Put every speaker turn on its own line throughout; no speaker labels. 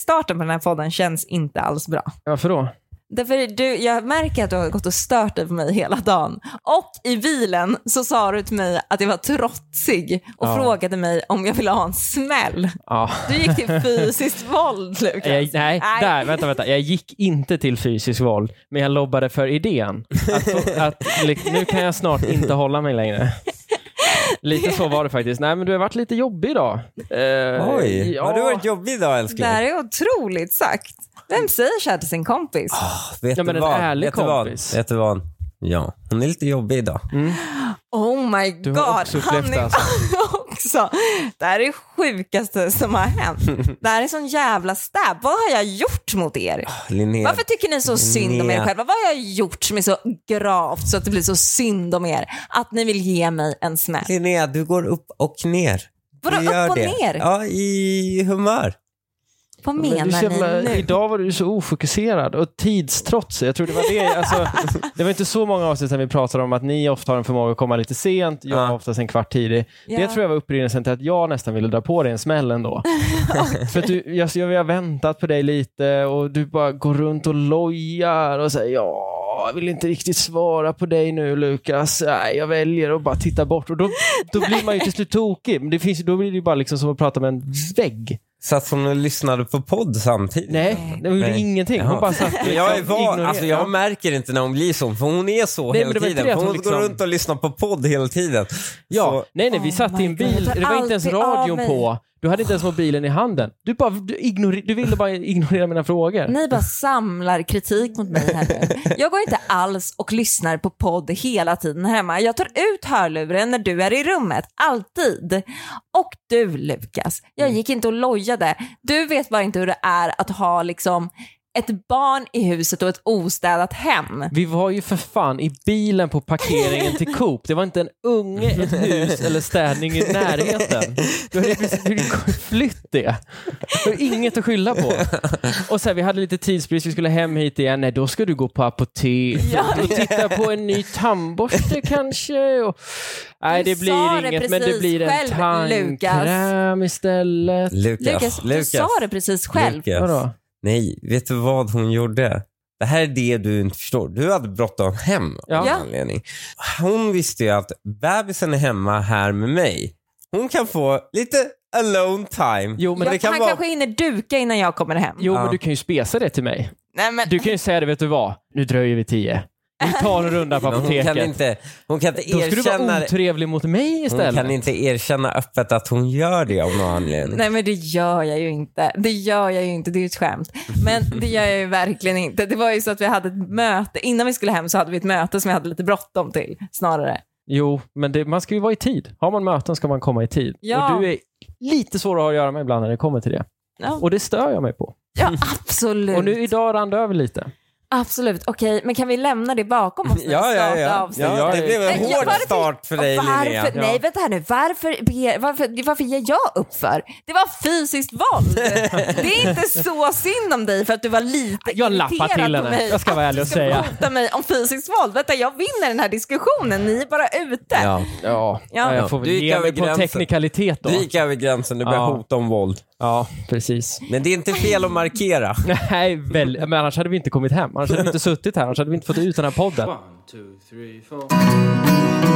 starten på den här podden känns inte alls bra.
Varför då?
Därför du, jag märker att du har gått och stört dig på mig hela dagen. Och i bilen så sa du till mig att jag var trotsig och
Ja.
frågade mig om jag ville ha en smäll.
Ja.
Du gick till fysiskt våld Lukas.
Jag, Eh, nej,
Nej.
där, vänta, vänta. Jag gick inte till fysiskt våld, men jag lobbade för idén. Att, få- att, li- nu kan jag snart inte hålla mig längre. Lite så var det faktiskt. Nej, men du har varit lite jobbig idag. Eh,
Oj,
ja.
har du varit jobbig idag älskling?
Det här är otroligt sagt. Vem säger så här till sin kompis?
Vet
Ja, men
du
en
vad?
ärlig
Vet du vad?
kompis. Mm.
Vet du vad? Ja, hon är lite jobbig idag.
Oh my
Du
god,
har också upplevt
han
det, alltså.
är också. Det här är det sjukaste som har hänt. Det här är sån jävla stab. Vad har jag gjort mot er?
Linnea.
Varför tycker ni så synd om er själva? Vad har jag gjort som är så gravt så att det blir så synd om er? Att ni vill ge mig en smäll.
Linnea, du går upp och ner.
Vadå
Du
upp
gör
och
det.
ner?
Ja, i humör.
Vad
Men du är
menar
så jävla-
ni nu?
Idag var du så ofokuserad och tidstrotsig. Jag tror det var det. Alltså, det var inte så många avsnitt sedan vi pratade om att ni ofta har en förmåga att komma lite sent, jag
Ja.
ja. oftast en kvart tidig. Det
Ja.
tror jag var upprinnelsen till att jag nästan ville dra på dig en smäll ändå. För att du, jag, jag har väntat på dig lite och du bara går runt och lojar och säger ja, jag vill inte riktigt svara på dig nu Lukas. Nej, jag väljer att bara titta bort. Och då, då blir man ju till slut tokig. Men det finns, ju- då blir det ju bara liksom som att prata med en vägg.
Satt som och lyssnade på podd samtidigt.
Nej, det gjorde
Nej.
ingenting. Hon
Jaha.
bara satt liksom
Men Jag, är van, alltså jag märker inte när hon blir så, för hon är så
Nej, men det
hela
var inte det
tiden.
att
Hon
hon
går
liksom-
runt och lyssnar på podd hela tiden.
ja.
Så,
Nej, nej, vi
Oh
satt i
my
en
God,
bil.
jag tar
Det var inte ens
alltid av
radion
mig.
på. Du hade inte ens mobilen i handen. Du, bara, du, ignore, du ville bara ignorera mina frågor.
Ni bara samlar kritik mot mig här nu. Jag går inte alls och lyssnar på podd hela tiden hemma. Jag tar ut hörluren när du är i rummet, alltid. Och du Lukas, jag gick inte och lojade. Du vet bara inte hur det är att ha liksom ett barn i huset och ett ostädat hem.
Vi var ju för fan i bilen på parkeringen till Coop. Det var inte en unge, ett hus eller städning i närheten. Du hade ju precis du hade ju flytt det. Du har inget att skylla på. Och sen, vi hade lite tidsbrist, vi skulle hem hit igen. Nej, då ska du gå på apoteket och titta på en ny tandborste kanske. Och... Nej,
Du
det
sa
blir
det
inget, men det
precis
blir en
själv, Lukas.
tandkräm istället.
Lukas,
Lukas, du sa det precis själv.
Lukas.
Vadå?
Nej, vet du vad hon gjorde? Det här är det du inte förstår. Du hade bråttom hem av
Ja.
någon
Ja.
anledning. Hon visste ju att bebisen är hemma här med mig. Hon kan få lite alone time.
Jo, men,
Jag,
det kan
han
vara-
kanske hinner duka innan jag kommer hem.
jo,
Ja.
men du kan ju spesa det till mig.
Nej, men...
Du kan ju säga det, vet du vad? Nu dröjer vi tio. Vi tar en runda på
Men hon
apoteket.
kan inte, hon kan inte
Då ska du vara
erkänna
otrevlig mot mig
hon
istället.
kan inte erkänna öppet att hon gör det av någon anledning.
Nej men det gör jag ju inte. Det gör jag ju inte, det är ju ett skämt. Men det gör jag ju verkligen inte. Det var ju så att vi hade ett möte, innan vi skulle hem så hade vi ett möte som jag hade lite bråttom till snarare.
Jo, men det, man ska ju vara i tid. Har man möten ska man komma i tid.
Ja.
Och du är lite svår att ha att göra med ibland när det kommer till det.
Ja,
Och det stör jag mig på.
ja absolut.
Och nu idag rann det över lite.
Absolut. Okej, men kan vi lämna det bakom oss när vi
Ja, ja,
startar
ja.
avsnittet?
ja. Det blev en
Men jag-
hård
varför-
start för dig Linnea.
varför, nej, vänta här nu. Varför, ber- varför, varför ger jag upp för? Det var fysiskt våld. Det är inte så synd om dig för att du var lite
Jag lappar
irriterad
till
på
henne.
mig
Jag ska vara
att
ärlig
du
och säga.
hota mig om fysiskt våld. Vänta, jag vinner den här diskussionen. Ni är bara ute.
Ja.
Ja, jag får väl
Du gick
ge
över
mig på
gränsen.
teknikalitet då.
Du gick över gränsen, du började
Ja.
hota om våld.
Ja, precis.
Men det är inte fel att markera.
Nej, väl, men annars hade vi inte kommit hem. Annars hade vi inte suttit här. Annars hade vi inte fått ut den här podden.
One, two, three, four.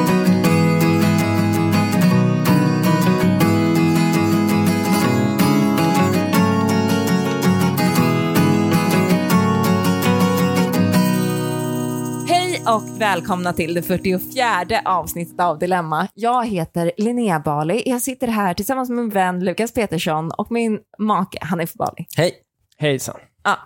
Hej och välkomna till det 44 avsnittet av Dilemma. Jag heter Linnea Bali. Jag sitter här tillsammans med min vän Lukas Petersson och min make Hanif Bali.
Hej.
Hejsan.
Ja.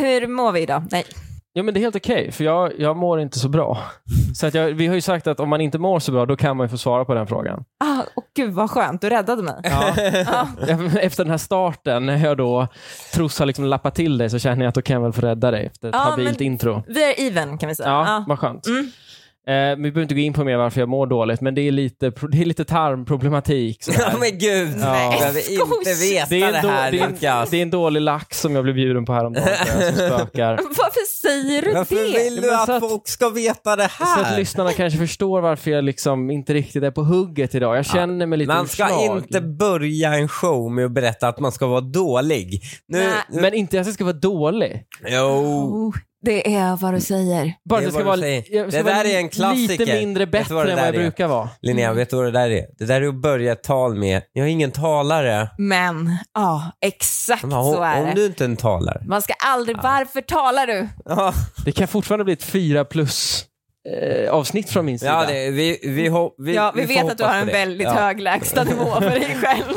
Hur mår vi idag? Nej.
Ja, men det är helt okej, för jag, jag mår inte så bra.
Mm.
Så att jag, vi har ju sagt att om man inte mår så bra, då kan man ju få svara på den frågan.
Ah, och gud vad skönt, du räddade mig.
Ja. Efter den här starten, när jag då tros har liksom lappat till dig, så känner jag att då kan jag väl få rädda dig efter ett
Ja,
habilt
men-
intro.
Vi är even kan vi säga.
Ja,
Ja.
vad skönt.
Mm.
Eh, men vi behöver inte gå in på mer varför jag mår dåligt, men det är lite, pro- det är lite tarmproblematik. sådär.
Ja men gud,
Ja.
jag behöver inte
Skoj.
veta
Det
det,
är, en då,
här
det, är en,
Lukas.
det är en dålig lax som jag blev bjuden på häromdagen tror jag, som spökar.
Varför säger du
Varför
det?
vill du
Men så
att
att-
folk ska veta det
Så att
här?
lyssnarna kanske förstår varför jag liksom inte riktigt är på hugget idag. Jag känner mig lite
Man ska
oslag.
inte börja en show med att berätta att man ska vara dålig. Nu,
Nej.
Men inte att jag ska vara dålig.
jo.
Oh, det är vad du säger.
Bara
Det
att
är
jag ska
vad
vara,
du
jag
säger.
ska
Det
vara
där är en klassiker.
lite mindre
Vet du
bättre
vad det
än vad jag
där är?
brukar vara.
Mm.
Linnea, vet du vad det där är? Det där är att börja ett tal med, jag är ingen talare.
Men, ja, exakt
Man bara,
så
Om,
är
om
det.
du inte är en talare.
Man ska aldrig... Varför talar du?
Ja,
Det kan fortfarande bli ett fyra plus eh, avsnitt från min sida.
ja det, vi, vi, hop, vi,
ja, vi,
får
vet att du
hoppas
har en
på det.
väldigt
Ja.
hög lägstanivå för dig själv.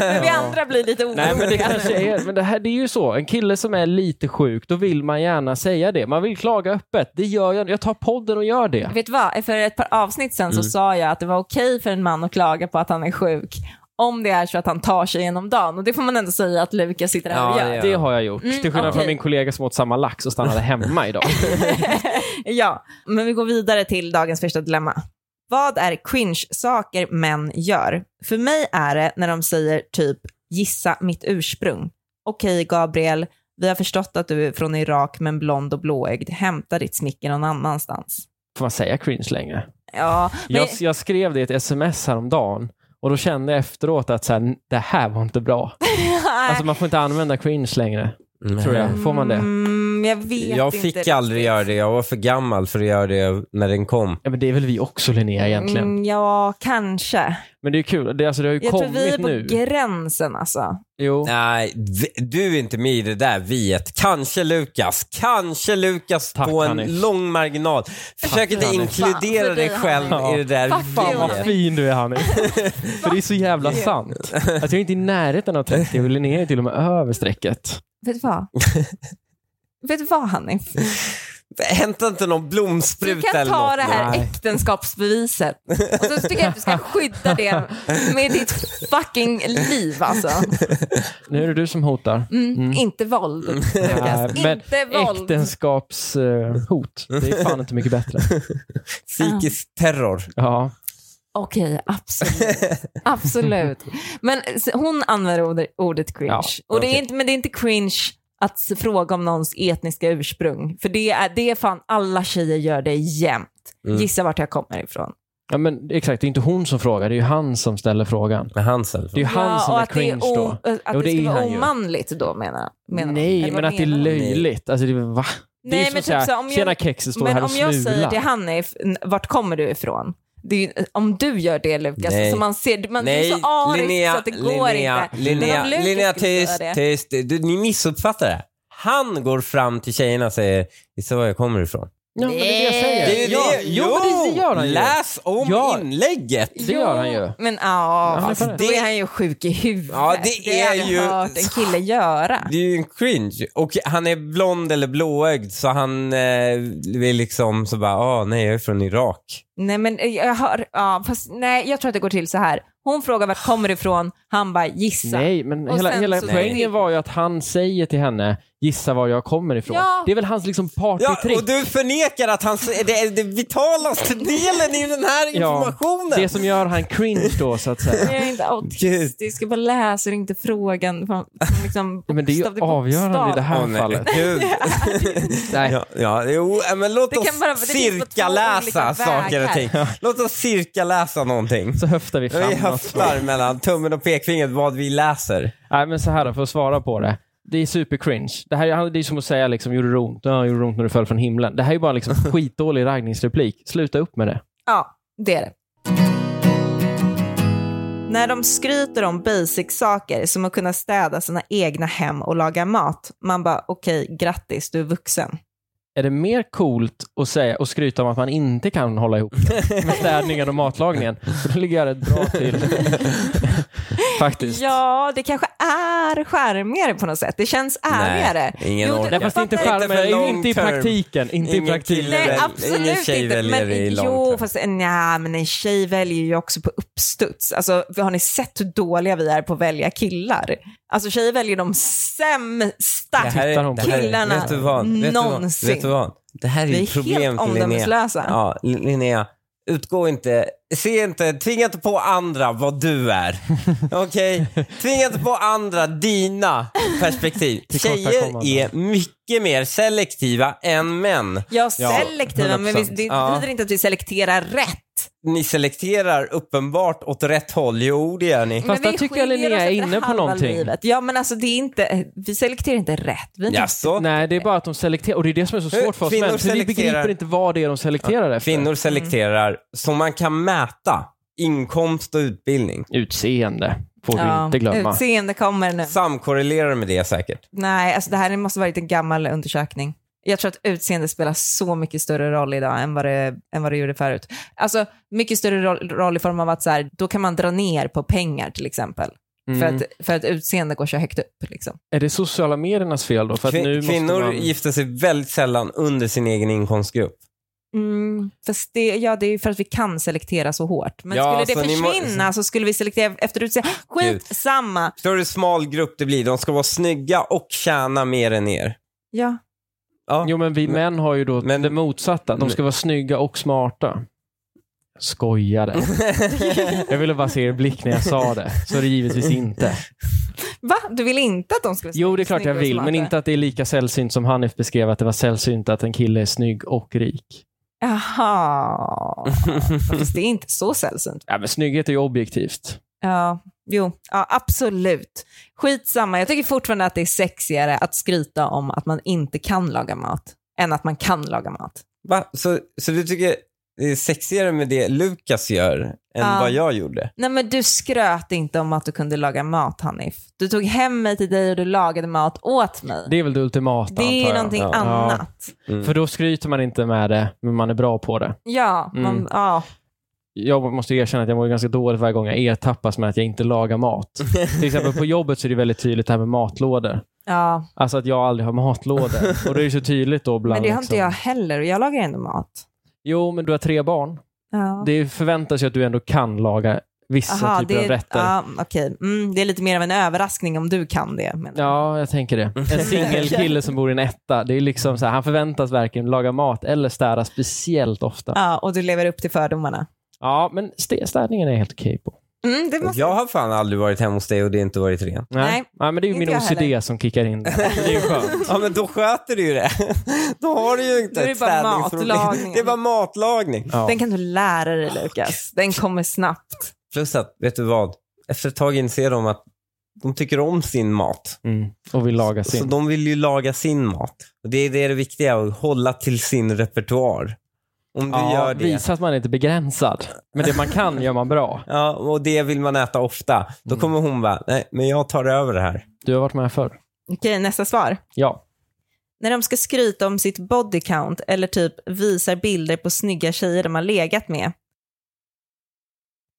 Men vi andra blir lite
Nej, men det
oroliga.
kanske är, men det här det är ju så. En kille som är lite sjuk, då vill man gärna säga det. Man vill klaga öppet. Det gör jag. Jag tar podden och gör det.
Vet du vad? För ett par avsnitt sen
Mm.
så sa jag att det var okej för en man att klaga på att han är sjuk om det är så att han tar sig genom dagen. Och det får man ändå säga att Lukas sitter här och
Ja,
gör.
det
Det har jag gjort.
Mm,
Till skillnad
okej.
från min kollega som åt samma lax och stannade hemma idag.
Ja, men vi går vidare till dagens första dilemma. Vad är cringe-saker män gör? För mig är det när de säger typ “gissa mitt ursprung”. Okej Gabriel, vi har förstått att du är från Irak men blond och blåögd. Hämta ditt smicker någon annanstans.
Får man säga cringe längre?
Ja, men,
Jag, jag skrev det i ett sms häromdagen och då kände jag efteråt att så här, det här var inte bra. Alltså man får inte använda cringe längre, tror jag. Får man det?
Mm, jag vet
Jag
inte.
fick aldrig göra det. Jag var för gammal för att göra det när den kom.
Ja, men det är väl vi också Linnea egentligen.
Mm, ja, kanske.
Men det är kul. Det, alltså, det har ju
Jag tror
kommit
vi är på
nu.
gränsen alltså.
Jo.
Nej, vi- du är inte med i det där viet. Kanske Lukas. Kanske Lukas
Tack,
på en
Hanif.
lång marginal. Försök inte
Hanif.
inkludera
Fan, för dig,
dig själv
Hanif.
i det där
Fuck
Fan
you,
vad
viet.
Hanif.
fin du är Hanni. För det är så jävla sant. Att jag är inte i närheten av 30 och Linnea är till och med över strecket.
Vet du vad? vet du vad Hanif?
Hämta inte någon
Du
blomspruta
kan
eller
ta
något.
det här
Nej.
äktenskapsbeviset och så tycker jag att du ska skydda det med ditt fucking liv alltså.
Nu är det du som hotar.
Mm, Inte våld, Lukas.
Nej, men
Inte våld.
Äktenskapshot. Det är fan inte mycket bättre.
Psykisk terror.
Ja.
Okej, absolut. absolut. Men s- hon använder ordet- ordet cringe.
Ja,
och det är
okej.
inte, men det är inte cringe att s- fråga om någons etniska ursprung. För det är, det är fan alla tjejer gör det jämt.
Mm.
Gissa vart jag kommer ifrån.
ja men exakt, det är inte hon som frågar. Det är ju han som ställer frågan.
Med hans i alla fall.
Det är ju han
Ja,
som
och
är
att det
cringe
är
då.
o- Att
Jo,
det,
det är
skulle vara
han ju.
omanligt då menar, menar
Nej,
Eller vad
men att det är
menar hon?
löjligt. Alltså, det, är- va? Det är
Nej,
ju som
men
att säga,
typ så här, om jag-
tjena kexet, står här
Men
och
om jag säger till
smular.
Hanif, n- vart kommer du ifrån? Det är ju, om du gör det Lukas,
Nej.
så man ser, man det är
Nej,
så ariskt
Linnea,
så att det går
Linnea,
inte.
Linnea,
Men om Lukas
Linnea
skulle göra
tyst,
det-
tyst. Du, ni missuppfattar det. här. Han går fram till tjejerna och säger “Gissa var jag kommer ifrån?”
Ja, men det är det jag säger.
Det är ju
ja,
det.
Jo, men det gör han ju.
Läs om
Ja.
inlägget!
Det gör han ju.
Men ja,
men
fast
det-
då är han ju sjuk i huvudet.
Ja, det
har jag
är
aldrig
ju-
hört en kille göra.
Det är ju en cringe. Och han är blond eller blåögd så han eh, vill liksom så bara, ah nej jag är från Irak.
Nej, men eh, jag hör, ja, fast nej, jag tror att det går till så här. Hon frågar vart kommer du ifrån, han bara gissa.
Nej, men
Och
hela,
sen
hela
så-
poängen
Nej.
var ju att han säger till henne, gissa var jag kommer ifrån.
Ja.
Det är väl hans liksom
Ja,
partytrick.
och du förnekar att han, det är det vitalaste delen i den här
Ja,
informationen.
det som gör han cringe då, så att säga.
Jag är inte autistisk, jag bara läser inte frågan från från liksom,
Men det är
bokstav
ju
till
avgörande i det
bokstav.
här
Åh, nej.
fallet.
Gud.
Nej.
Ja, ja, jo, eh, men låt
Det kan
oss
bara- det finns bara två olika
cirkaläsa saker och ting.
vägar.
Låt oss cirkaläsa någonting.
Så höftar vi fram
Vi
något.
höftar mellan tummen och pekfingret vad vi läser.
Nej, men så här då, för att svara på det. Det är supercringe. Det här är- det är som att säga liksom, gjorde det ont? Ja, gjorde det ont när du föll från himlen? Det här är ju bara liksom skitdålig raggningsreplik. Sluta upp med det.
Ja, det är det. När de skryter om basic-saker som att kunna städa sina egna hem och laga mat, man bara okej, grattis, du är vuxen.
Är det mer coolt att säga och skryta om att man inte kan hålla ihop det med städningen och matlagningen? För då ligger jag rätt bra till. Faktiskt.
Ja, det kanske är charmigare på något sätt. Det känns ärligare.
Nej, ingen
Jo, det-
orkar.
Nej, fast det är inte
Inte
för
charmen, det är ju
long
inte i
term.
praktiken. Inte i
Ingen
praktiken.
kille.
Nej,
väl-
absolut
ingen tjej
inte.
väljer
men,
i lång
Jo,
term.
fast nja, men en tjej väljer ju också på uppstuds. Alltså, har ni sett hur dåliga vi är på att välja killar? Alltså tjejer väljer de sämsta.
Det här är-
Tittar hon på
det här är-
killarna
vet du vad, vet du vad,
någonsin.
Vet du vad? Det här är
Vi
ju
är
ett problem
helt
för Linnea.
omdömeslösa.
Ja, Lin- Linnea, utgå inte, se inte, tvinga inte på andra vad du är. Okej? Tvinga inte på andra dina perspektiv. Tjejer
Tillkortakommande.
är mycket mer selektiva än män.
Ja,
Ja,
selektiva, men vi,
100%.
det
Ja.
betyder inte att vi selekterar rätt.
Ni selekterar uppenbart åt rätt håll. Jo, det gör ni.
Fast
men
där
vi
tycker jag
skiljer
Linnea
oss
är
efter
inne på
halva
någonting.
livet. Ja, men alltså det är inte, vi selekterar inte rätt. Vi är inte
Jaså?
Nej, det är bara att de selekterar. Och det är det som är så
Hur-
svårt för oss
kvinnor
män. För vi
selekterar-
begriper inte vad det är de selekterar efter.
Kvinnor selekterar som man kan mäta inkomst och utbildning.
Utseende får vi
Ja,
inte glömma.
Utseende kommer nu.
Samkorrelerar med det säkert.
Nej, alltså det här måste varit en gammal undersökning. Jag tror att utseende spelar så mycket större roll idag än vad det, än vad det gjorde förut. Alltså mycket större roll, roll i form av att så här, då kan man dra ner på pengar till exempel. För,
Mm.
att, för att utseende går så högt upp. Liksom.
Är det sociala mediernas fel då? För att
Kvin-
nu måste
kvinnor
man...
gifter sig väldigt sällan under sin egen inkomstgrupp.
Mm, fast det, ja, det är ju för att vi kan selektera så hårt. Men
Ja,
skulle det
så ni må-
försvinna så skulle vi selektera efter utseende.
Gud.
Skit samma.
Förstår du hur smal grupp det blir? De ska vara snygga och tjäna mer än er.
Ja.
Ja.
Jo, men vi män har ju då
Men-
det motsatta. De ska vara snygga och smarta. Jag Skojade. jag ville bara se er blick när jag sa det. Så är det givetvis inte.
Va? Du vill inte att de skulle
Jo, det är klart jag
snygga och
vill, men
smarta?
inte att det är lika sällsynt som Hanif beskrev att det var sällsynt att en kille är snygg och rik.
Jaha. Fast det är inte så sällsynt.
Ja, men snygghet är ju objektivt.
Ja, jo, ja, absolut. Skitsamma, jag tycker fortfarande att det är sexigare att skryta om att man inte kan laga mat än att man kan laga mat.
Va? Så, så du tycker det är sexigare med det Lukas gör än
Ja.
vad jag gjorde?
Nej men du skröt inte om att du kunde laga mat Hanif. Du tog hem mig till dig och du lagade mat åt mig.
Det är väl det ultimata,
Det är
antar jag.
någonting
Ja.
annat.
För då skryter man inte med det, men man är bra på det.
Ja, man,
Mm.
ja.
Jag måste erkänna att jag mår ju ganska dåligt varje gång jag ertappas med att jag inte lagar mat. Till exempel på jobbet så är det väldigt tydligt det här med matlådor.
ja.
Alltså att jag aldrig har matlådor. Och det är ju så tydligt då bland...
Men det har
liksom-
inte jag heller och jag lagar ändå mat.
Jo, men du har tre barn.
Ja.
Det förväntas ju att du ändå kan laga vissa
Aha,
typer
det,
av rätter.
Ja, okej. mm, det är lite mer av en överraskning om du kan det. Men...
Ja, jag tänker det. En singelkille som bor i en etta, det är liksom så här, han förväntas verkligen laga mat eller städa speciellt ofta.
Ja, och du lever upp till fördomarna.
Ja, men st- städningen är jag helt okej på.
Mm, det måste...
Jag har fan aldrig varit hemma hos dig och det har inte varit rent.
Nej,
men det är ju
inte
min
jag heller.
OCD som kickar in där. Det är ju skönt.
Ja men då sköter du ju det. Då har du ju
Då
inte
är det
ett
bara
städningsproblem.
matlagning.
Det är bara matlagning.
Ja.
Den kan du lära dig Lukas. Den kommer snabbt.
Plus att, vet du vad? Efter ett tag inser de att de tycker om sin mat.
Mm. Och vill laga
Så
sin.
de vill ju laga sin mat. Och det är det, är det viktiga, att hålla till sin repertoar. Om du
Ja,
gör det.
visa att man inte är begränsad. Men det man kan gör man bra.
Ja, och det vill man äta ofta. Då
Mm.
kommer hon bara, nej men jag tar över det här.
Du har varit med förr.
Okej, nästa svar.
Ja.
När de ska skryta om sitt body count eller typ visar bilder på snygga tjejer de har legat med.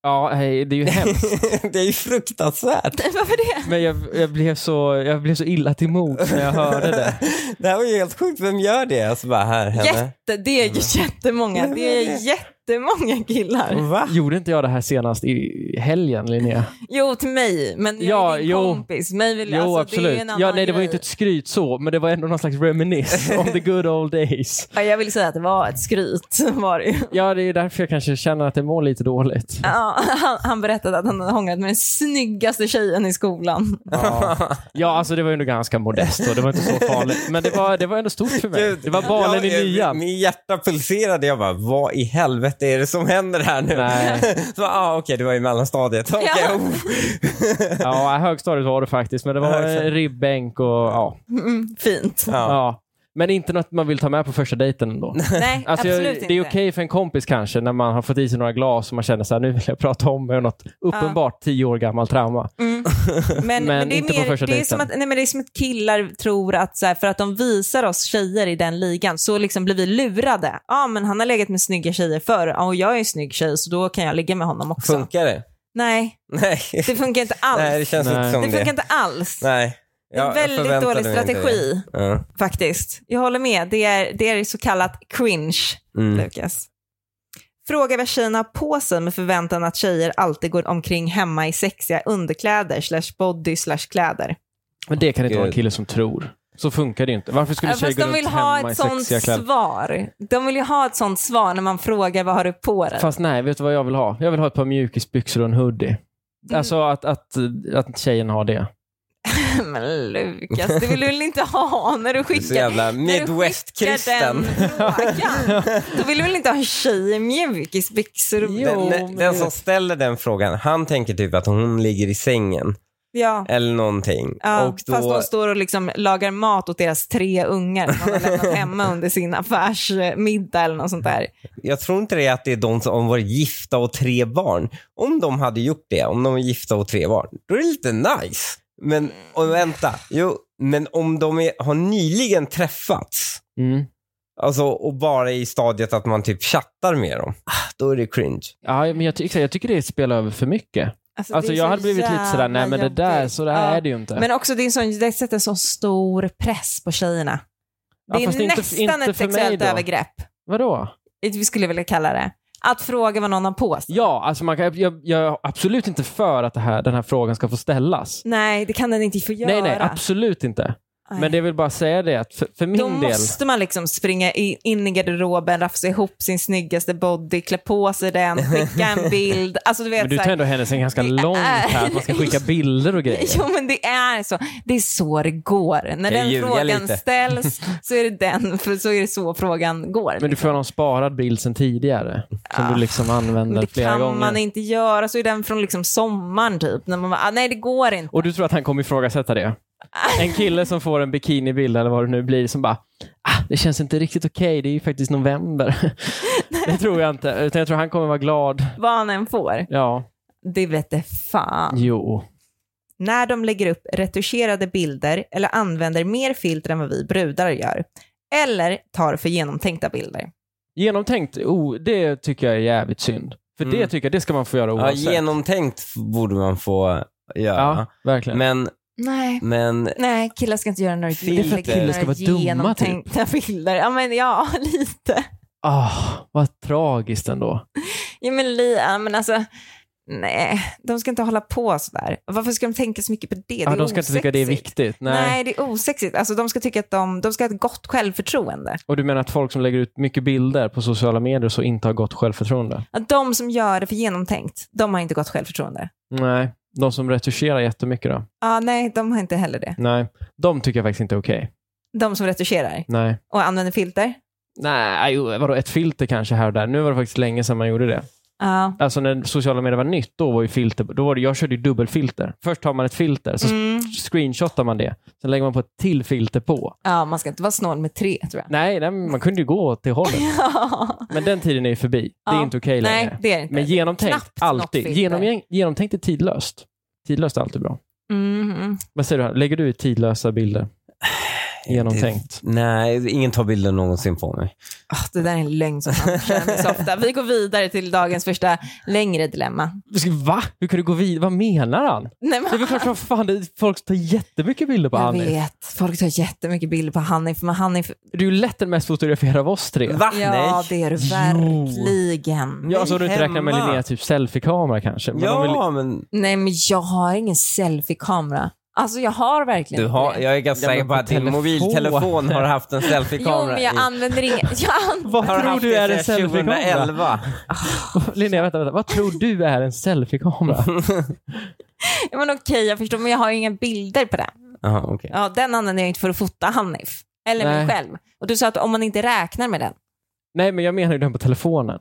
Ja, hej, det är ju hemskt.
det är ju fruktansvärt.
Varför det?
Men jag, jag, blev så, jag blev så illa till mods när jag hörde det.
Det här var ju helt sjukt, vem gör det? Alltså bara här, henne.
Jätte, det är ju jättemånga. Det är jättemånga
Mm.
killar.
Va?
Gjorde inte jag det här senast i helgen, Linnea?
Jo, till mig, men jag
Ja,
är din
jo.
kompis. Mig vill,
Jo,
alltså, Det är ju
absolut.
en annan
ja, nej, det var ju
grej.
inte ett skryt så, men det var ändå någon slags reminisce om the good old days.
ja, jag vill säga att det var ett skryt. Var det ju.
Ja, det är ju därför jag kanske känner att det mår lite dåligt.
Ja, han, han berättade att han hade hånglat med den snyggaste tjejen i skolan.
Ja, ja alltså det var ju ändå ganska modest och det var inte så farligt. Men det var, det var ändå stort för mig.
Gud,
Det var balen
jag-
i nian.
Min hjärta pulserade. Jag bara, vad i helvete är det som händer här nu?
Nej.
Så, ah, okej, det var i mellanstadiet. Okay,
Ja.
oh.
Ja, högstadiet var det faktiskt, men det var eh, ribbänk och ja.
Mm, fint.
ja.
ja. Men inte något man vill ta med på första dejten ändå.
Nej,
Alltså, jag,
absolut
det är
inte.
okej för en kompis kanske när man har fått i sig några glas och man känner så här, nu vill jag prata om mig något uppenbart tio år gammalt trauma.
Men, men det är
inte på
mer,
första
det är
dejten.
som att, nej, men det är som att killar tror att så här, för att de visar oss tjejer i den ligan så liksom blir vi lurade. Ja, men han har legat med snygga tjejer förr ja, och jag är en snygg tjej så då kan jag ligga med honom också.
Funkar det?
Nej,
Nej.
det funkar inte alls.
Nej, det känns
Nej.
inte som
det
det.
funkar inte alls.
Nej.
Det är en
Jag
väldigt
förväntade
dålig
mig inte
strategi
det. Ja.
faktiskt. Jag håller med. Det är, det är så kallat cringe,
Mm.
Lukas. Fråga vad tjejerna har på sig med förväntan att tjejer alltid går omkring hemma i sexiga underkläder slash body slash kläder.
Men det kan inte vara en
Gud.
kille som tror. Så funkar det ju inte. Varför skulle
Ja,
tjejer
Fast
gå
de
runt
vill ha
hemma i
ett sånt
sexiga kläder?
svar. De vill ju ha ett sånt svar när man frågar vad har du på dig.
Fast nej, vet du vad jag vill ha? Jag vill ha ett par mjukisbyxor och en hoodie.
Mm.
Alltså att, att, att tjejen har det.
Men Lukas, det vill du väl inte ha när du
Så
skickar när
jävla
du skickar
midwest-kristen.
den frågan. Då vill du väl inte ha en tjej i mjukisbyxor? och-
Jo,
Den,
men
den,
det-
den som ställer den frågan, han tänker typ att hon ligger i sängen
Ja.
eller någonting.
Ja,
och då,
Fast de står och liksom lagar mat åt deras tre ungar som de har lämnat hemma under sin affärsmiddag eller något sånt där.
Jag tror inte det är att det är de som varit gifta och tre barn. Om de hade gjort det, om de är gifta och tre barn, då är det lite nice. Men och vänta, jo, men om de är, har nyligen träffats
Mm.
alltså, och bara är i stadiet att man typ chattar med dem, ah, då är det cringe.
Ja, men jag, ty- jag tycker det spelar över för mycket.
Alltså,
Alltså,
det är
jag
så
hade blivit lite sådär, nej
jävla
men det där,
jobbigt.
så det här
Ja.
är det ju inte.
Men också det, är en sån, det sätter en sån stor press på tjejerna.
Ja,
Det är
fast inte-
nästan
inte
ett
för mig
sexuellt
då.
övergrepp.
Vadå?
Vi skulle vilja kalla det. Att fråga vad någon har på sig.
Ja, alltså man kan, jag, jag är absolut inte för att det här, den här frågan ska få ställas.
Nej, det kan den inte få göra.
Nej, nej, absolut inte.
Nej.
Men det vill bara säga det att för, för min
Då
del...
måste man liksom springa i- in i garderoben, rafsa ihop sin snyggaste body, klä på sig den, skicka en bild. Alltså du vet
Men du
så
tar
här,
ändå händelsen ganska
Det
långt här, att
är-
man ska skicka bilder och grejer.
Jo men det är så. Det är så det går. När
Kan jag
den
ljuga
frågan
lite?
ställs så är det den, för så är det så frågan går.
Men du får någon sparad bild sen tidigare, som
Ah,
du liksom använder
Men det
flera
kan
gånger.
man inte göra. Så är den från liksom sommaren typ. När man bara, ah, nej det går inte.
Och du tror att han kommer ifrågasätta det?
Ah.
En kille som får en bikinibild eller vad det nu blir som bara ah, det känns inte riktigt okej, det är ju faktiskt november. det tror jag inte, utan jag tror han kommer vara glad.
Vad han än får.
Ja,
Det vete fan.
jo.
när de lägger upp retuscherade bilder eller använder mer filter än vad vi brudar gör. Eller tar för genomtänkta bilder.
Genomtänkt, oh, det tycker jag är jävligt synd. För det
Mm.
tycker jag, det ska man få göra
Ja,
oavsett.
genomtänkt f- borde man få
Ja,
göra.
verkligen.
Men,
Nej.
men
Nej, killar ska inte göra några
Filter. Det är för att
lägga
killar ska
några
vara dumma, typ.
genomtänkta bilder. Ja, men ja, lite.
Ah, vad tragiskt ändå.
Ja, men, li, ja, men alltså, nej, de ska inte hålla på sådär. Varför ska de tänka så mycket på det? det
Ja,
är
Ah, de ska inte tycka det är
osexigt.
viktigt. Nej.
Nej. det är osexigt. Alltså, de ska tycka att de, de ska ha ett gott självförtroende.
Och du menar att folk som lägger ut mycket bilder på sociala medier så inte har gott självförtroende?
Att de som gör det för genomtänkt, de har inte gott självförtroende.
Nej. De som retuscherar jättemycket då?
Ja, nej, de har inte heller det.
Nej. De tycker jag faktiskt inte är okej.
De som retuscherar
Nej.
och använder filter.
Nej, jo, vadå ett filter kanske här och där. Nu var det faktiskt länge sedan man gjorde det.
Ja.
Alltså när sociala medier var nytt, då var ju filter, då var det, jag körde ju dubbelfilter. Först tar man ett filter, så
Mm.
screenshotar man det. Sen lägger man på ett till filter på.
ja, man ska inte vara snål med tre tror jag.
Nej, nej men man kunde ju gå åt det hållet. Men den tiden är ju förbi. Det är
Ja.
inte okej
Nej,
längre.
det är det inte.
Men genomtänkt,
Knappt något
alltid.
filter.
Genom, genomtänkt är tidlöst. Tidlöst är alltid bra.
Mhm.
Vad säger du? här? Lägger du ut tidlösa bilder? Genomtänkt.
nej, ingen tar bilder någonsin på mig.
Ah, det där är en lögn som han känner så ofta. Vi går vidare till dagens första längre dilemma.
Va? Hur kan du gå vidare? Vad menar han?
Nej,
Det är
men,
väl klart som fan det, folk tar jättemycket bilder på
jag
Hanif.
vet, folk tar jättemycket bilder på Hanif, men Hanif,
Du är ju lätt den mest fotograferade av oss tre.
Ah,
Va?
ja
nej.
det är du
Jo.
verkligen.
Ja, alltså du inte
Hemma.
räknar med Linnea typ selfiekamera kanske. Men om vi-
Ja, men
Nej men jag har ingen selfie-kamera. Alltså jag har verkligen
du har,
inte det.
jag är ganska
Ja, men
säker på
på
att din
telefon.
mobiltelefon har haft en
Jo
selfie-kamera
men jag
i.
använder ingen. Jag an...
Vad
Har du
tror
haft
du är en
det sedan
selfiekamera?
2011?
Linnea, vänta, vänta. Vad tror du är en selfiekamera?
Ja, men okej jag förstår men jag har inga bilder på den.
Jaha, okej.
Ja, den använder jag inte för att fota Hanif. Eller
Nej.
mig själv. Och du sa att om man inte räknar med den.
Nej, men jag menar ju den på telefonen.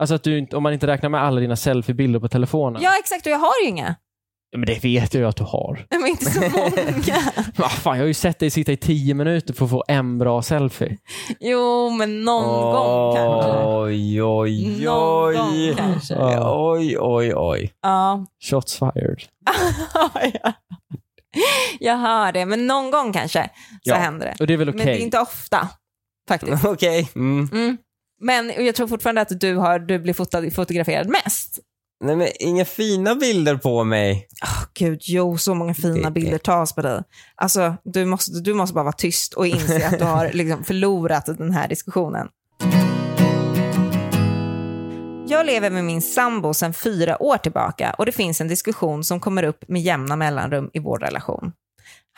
Alltså att du inte, om man inte räknar med alla dina selfiebilder på telefonen.
Ja, exakt. Och jag har ju inga.
Ja, Men det vet jag ju att du har.
Men inte så många.
Ah, fan, jag har ju sett dig sitta i tio minuter för att få en bra selfie.
Jo, men någon gång kanske.
Oj, oj,
Någon gång
oj.
kanske.
Ja.
Oj, oj, oj.
Ja.
Shots fired.
jag hör det. Men någon gång kanske så
Ja.
händer det.
Och det är väl
Men det är
okej?
inte ofta, faktiskt.
Okej. Mm.
Mm. Men jag tror fortfarande att du, har, du blir fotad, fotograferad mest.
Nej men inga fina bilder på mig.
Åh, Gud, jo, så många fina
Det-
bilder tas på dig. Alltså, du måste, du måste bara vara tyst och inse att du har liksom förlorat den här diskussionen. Jag lever med min sambo sedan fyra år tillbaka och det finns en diskussion som kommer upp med jämna mellanrum i vår relation.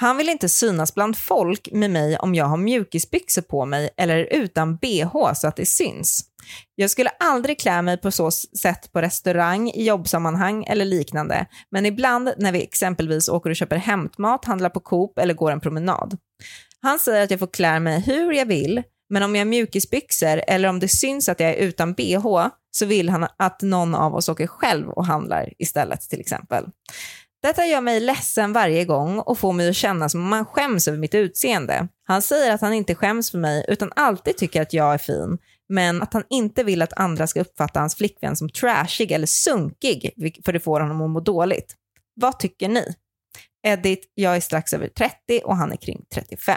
Han vill inte synas bland folk med mig om jag har mjukisbyxor på mig eller är utan bh så att det syns. Jag skulle aldrig klä mig på så sätt på restaurang, i jobbsammanhang eller liknande, men ibland när vi exempelvis åker och köper hämtmat, handlar på Coop eller går en promenad. Han säger att jag får klä mig hur jag vill, men om jag har mjukisbyxor eller om det syns att jag är utan bh så vill han att någon av oss åker själv och handlar istället till exempel. Detta gör mig ledsen varje gång och får mig att känna som om han skäms över mitt utseende. Han säger att han inte skäms för mig utan alltid tycker att jag är fin, men att han inte vill att andra ska uppfatta hans flickvän som trashig eller sunkig, vilk- för det får honom att må dåligt. Vad tycker ni? Edit, jag är strax över 30 och han är kring 35.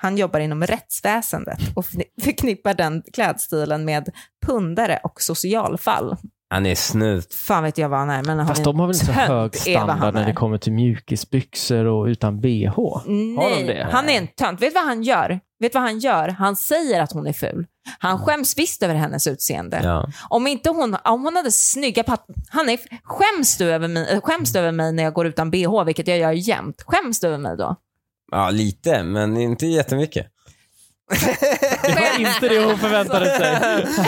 Han jobbar inom rättsväsendet och förkni- förknippar den klädstilen med pundare och socialfall.
Han är snut.
Fan vet jag vad han är, men han
Fast
är
de har väl inte så
tönt,
hög
är vad han
standard när
är.
det kommer till mjukisbyxor och utan bh?
Nej,
Har de det?
han är en tönt. Vet du vad han gör? Vet du vad han gör? Han säger att hon är ful. Han skäms visst över hennes utseende.
Ja.
Om inte hon, om hon hade snygga patt... Hanif, skäms du, över mig, äh, skäms du över mig när jag går utan bh, vilket jag gör jämt? Skäms du över mig då?
ja, lite, men inte jättemycket.
Det var inte det hon förväntade sig.
alltså.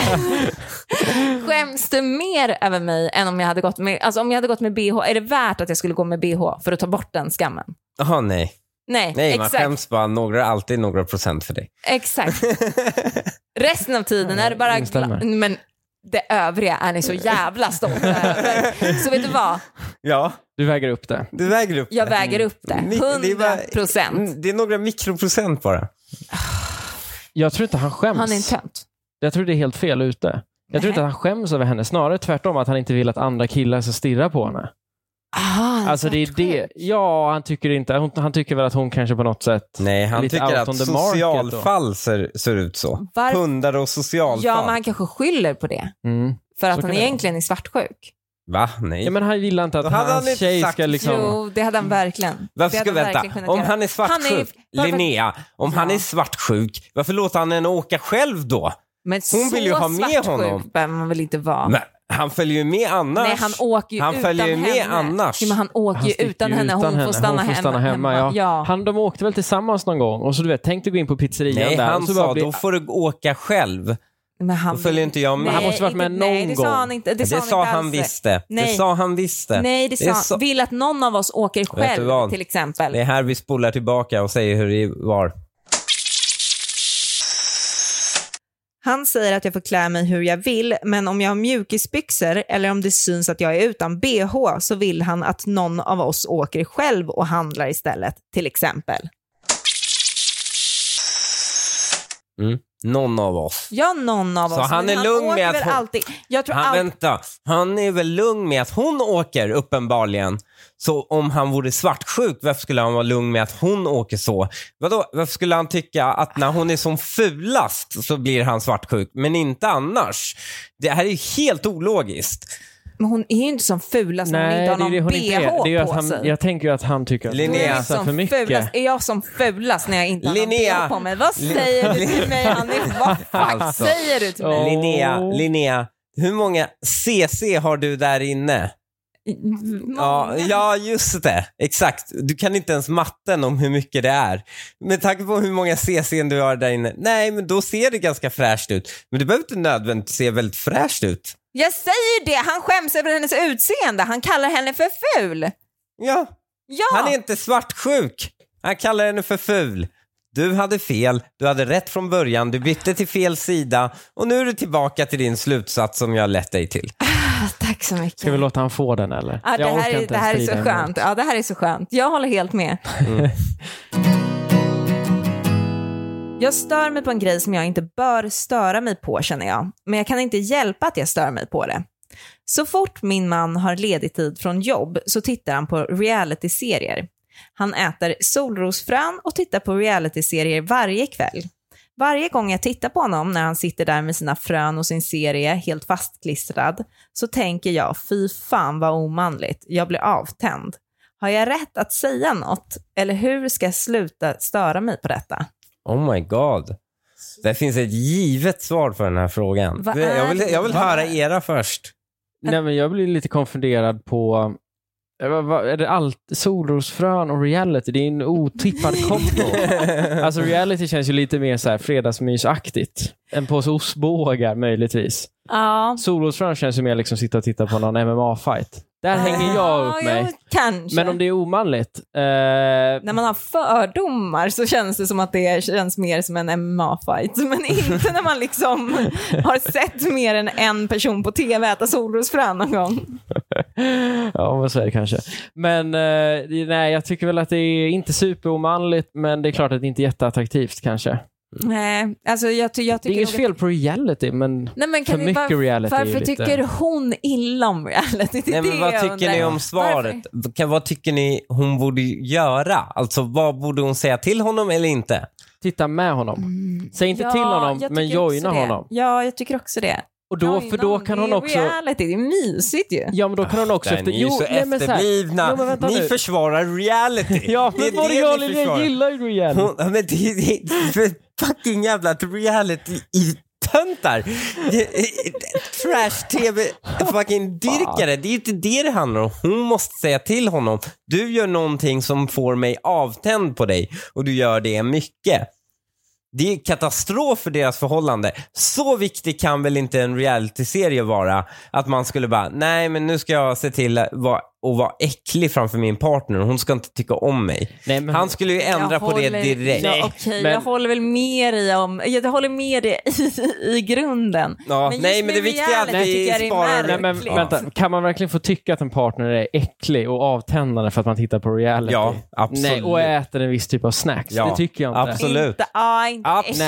Skäms du mer över mig än om jag hade gått med, alltså om jag hade gått med bh? Är det värt att jag skulle gå med bh för att ta bort den skammen?
Jaha, nej.
Nej,
Nej, man
exakt.
skäms bara några, alltid några procent för dig.
Exakt. Resten av tiden är det bara...
Instämmer.
gla- Men det övriga är ni så jävla stolta över. Så vet du vad?
Ja,
Du väger upp det.
du väger upp
Jag
det.
väger upp det.
Mm. Det är bara-
100 procent.
Mm, Det är några mikroprocent bara.
Jag tror inte han skäms.
Han är en tönt.
Jag tror det är helt fel ute. Jag tror
Nej.
inte att han skäms över henne, snarare tvärtom att han inte vill att andra killar ska stirra på henne.
Ah,
Alltså det är det. Ja, han tycker inte. hon- Han tycker väl att hon kanske på något sätt...
Nej, han
Lite
tycker
out
att
on the market
socialfall ser, ser ut så.
Varför-
Pundare och socialfall.
Ja, men han kanske skyller på det.
Mm.
För att han
Så kan det
egentligen är svartsjuk.
Va? Nej.
Ja, men han gillar inte
Då
att
hade
hans
han inte
tjej
sagt-
ska liksom...
Jo, det hade han verkligen.
Varför
det hade
ska
han
vänta?
verkligen kunnat
Om
göra.
han är
Han är-
svartsjuk,
varför-
Linnea, om han
Ja.
är svartsjuk, varför låter han henne åka själv då?
Men
Hon vill ju
så
ha med
svartsjuk
honom.
behöver man väl inte vara?
Men han följer ju med annars.
Nej, han åker ju
Han
utan
följer ju med
henne.
annars.
Nej, men han åker
Han
ju
sticker
utan
ju
henne. Hon, Får stanna
hon får stanna hemma. ja.
ja.
Han, de åkte väl tillsammans någon gång och så du vet, tänk dig gå in på pizzerian
Nej,
där.
han
och så bara
sa
bli-
då får du åka själv.
Men han
Då följer inte jag med.
Nej,
Han måste varit
inte-
med
nej,
någon
det sa han
gång.
inte. Det,
Det,
sa han,
sa
inte
han
alls.
visste. Det
Nej.
sa han visste.
Nej, det sa han.
sa-
Vill att någon av oss åker
du
själv,
vad?
till exempel.
Det är här vi spolar tillbaka och säger hur det var.
Han säger att jag får klä mig hur jag vill, men om jag har mjukisbyxor eller om det syns att jag är utan bh så vill han att någon av oss åker själv och handlar istället, till exempel.
Mm. Någon av oss.
Ja, någon av
Så
oss.
han
men
är lugn
åker
med att
väl
hon-
alltid. Jag tror
Han,
all...
vänta, han är väl lugn med att hon åker uppenbarligen. Så om han vore svartsjuk, varför skulle han vara lugn med att hon åker så? Vadå, varför skulle han tycka att när hon är som fulast så blir han svartsjuk, men inte annars? Det här är ju helt ologiskt.
Men hon är ju inte som fulast när hon
Nej,
Alltså, inte har
det är
någon
det hon inte
bh
är. Det är ju att
på
han,
sig.
jag tänker ju att han tycker att
Då är
Linnea.
jag
hon visar
som
för mycket.
Fulast. Är jag som fulast när jag inte har
Linnea.
någon bh på mig? Vad säger du till mig, Hanif? Vad fuck
Alltså.
säger du till mig?
Ja.
Linnea,
Åh.
Linnea, hur många CC har du där inne? Ja, ja, just det. Exakt. Du kan inte ens matten om hur mycket det är. Med tanke på hur många CCn du har där inne. Nej, men då ser det ganska fräscht ut. Men det behöver inte nödvändigtvis se väldigt fräscht ut.
Jag säger det, han skäms över hennes utseende. Han kallar henne för ful.
Ja,
Ja,
han är inte svartsjuk. Han kallar henne för ful. Du hade fel, du hade rätt från början, du bytte till fel sida och nu är du tillbaka till din slutsats som jag lett dig till.
tack så mycket.
Ska vi låta han få den eller?
Ja, det,
Jag
här
orkar
är,
inte
det här är
ens
så
strida emot. Mm.
skönt. Ja, det här är så skönt. Jag håller helt med. Jag stör mig på en grej som jag inte bör störa mig på känner jag. Men jag kan inte hjälpa att jag stör mig på det. Så fort min man har ledig tid från jobb så tittar han på reality-serier. Han äter solrosfrön och tittar på reality-serier varje kväll. Varje gång jag tittar på honom när han sitter där med sina frön och sin serie helt fastklistrad så tänker jag fy fan vad omanligt, jag blir avtänd. Har jag rätt att säga något eller hur ska jag sluta störa mig på detta?
Oh my god. Det finns ett givet svar på den här frågan.
Vad
Det- jag
är
vill,
det?
jag vill
Vad-
höra era först.
Nej, men jag blir lite konfunderad på... eh, vad- vad- Är det allt, solrosfrön och reality? Det är en otippad kombo. alltså reality känns ju lite mer så här fredagsmysaktigt. En påse ostbågar möjligtvis.
Ja.
Solrosfrön känns ju mer liksom sitta och titta på någon MMA-fight. Där hänger jag upp
Ja,
mig.
jo, kanske.
Men om det är omanligt. Eh,
När man har fördomar så känns det som att det känns mer som en MMA-fight. Men inte när man liksom har sett mer än en person på tv äta solrosfrön någon gång.
Ja, men så är det kanske. Men eh, det- nej, jag tycker väl att det är inte superomanligt, men det är klart att det inte är jätteattraktivt kanske.
Nej, alltså jag, ty- jag
Det är
tycker
inget
nog att-
fel på reality, men
Nej, men
för
kan vi
mycket
bara...
reality är ju
Varför
lite...
tycker hon illa om reality? Det är
Nej,
det
men vad
jag
tycker
undrar.
ni om svaret? Kan, vad tycker ni hon borde göra? Alltså vad borde hon säga till honom eller inte?
Titta med honom. Säg inte till honom,
jag
men
tycker också
joina
det.
honom.
Ja, jag tycker också det.
Och då,
Joina
för då
honom,
kan
det är
hon
ju
också...
Reality, det är mysigt ju.
Ja, men då kan hon också...
Där,
Efter...
ni är ju så
nej, men så här-
efterblivna.
Jo, men vänta
ni
nu.
försvarar reality.
Ja,
Det
men
är
både
det
jag och
ni
Linnea
försvarar.
gillar ju reality.
Hon, ja, men det är det är för fucking jävla reality i töntar. Det- det- Trash-tv fucking dyrkare. Det är inte det det handlar om. Hon måste säga till honom. Du gör någonting som får mig avtänd på dig och du gör det mycket. Det är katastrof för deras förhållande. Så viktig kan väl inte en realityserie vara? Att man skulle bara, nej men nu ska jag se till att vara, och vara äcklig framför min partner. Hon ska inte tycka om mig.
Nej, men...
Han skulle ju ändra
Jag
på det
håller-
direkt.
Ja,
Nej,
okej,
men-
Jag håller väl med dig om, jag håller med dig i, i grunden.
Ja,
Men just
nej, men det
med
viktiga är att
reality
vi
tycker jag det är
sparar...
Nej, men
Verkligen.
vänta, kan man verkligen få tycka att en partner är äcklig och avtändande för att man tittar på reality?
Ja, absolut.
Nej, och äter en viss typ av snacks.
Ja,
Det tycker jag inte.
absolut.
Inte, ah, inte
Absolut.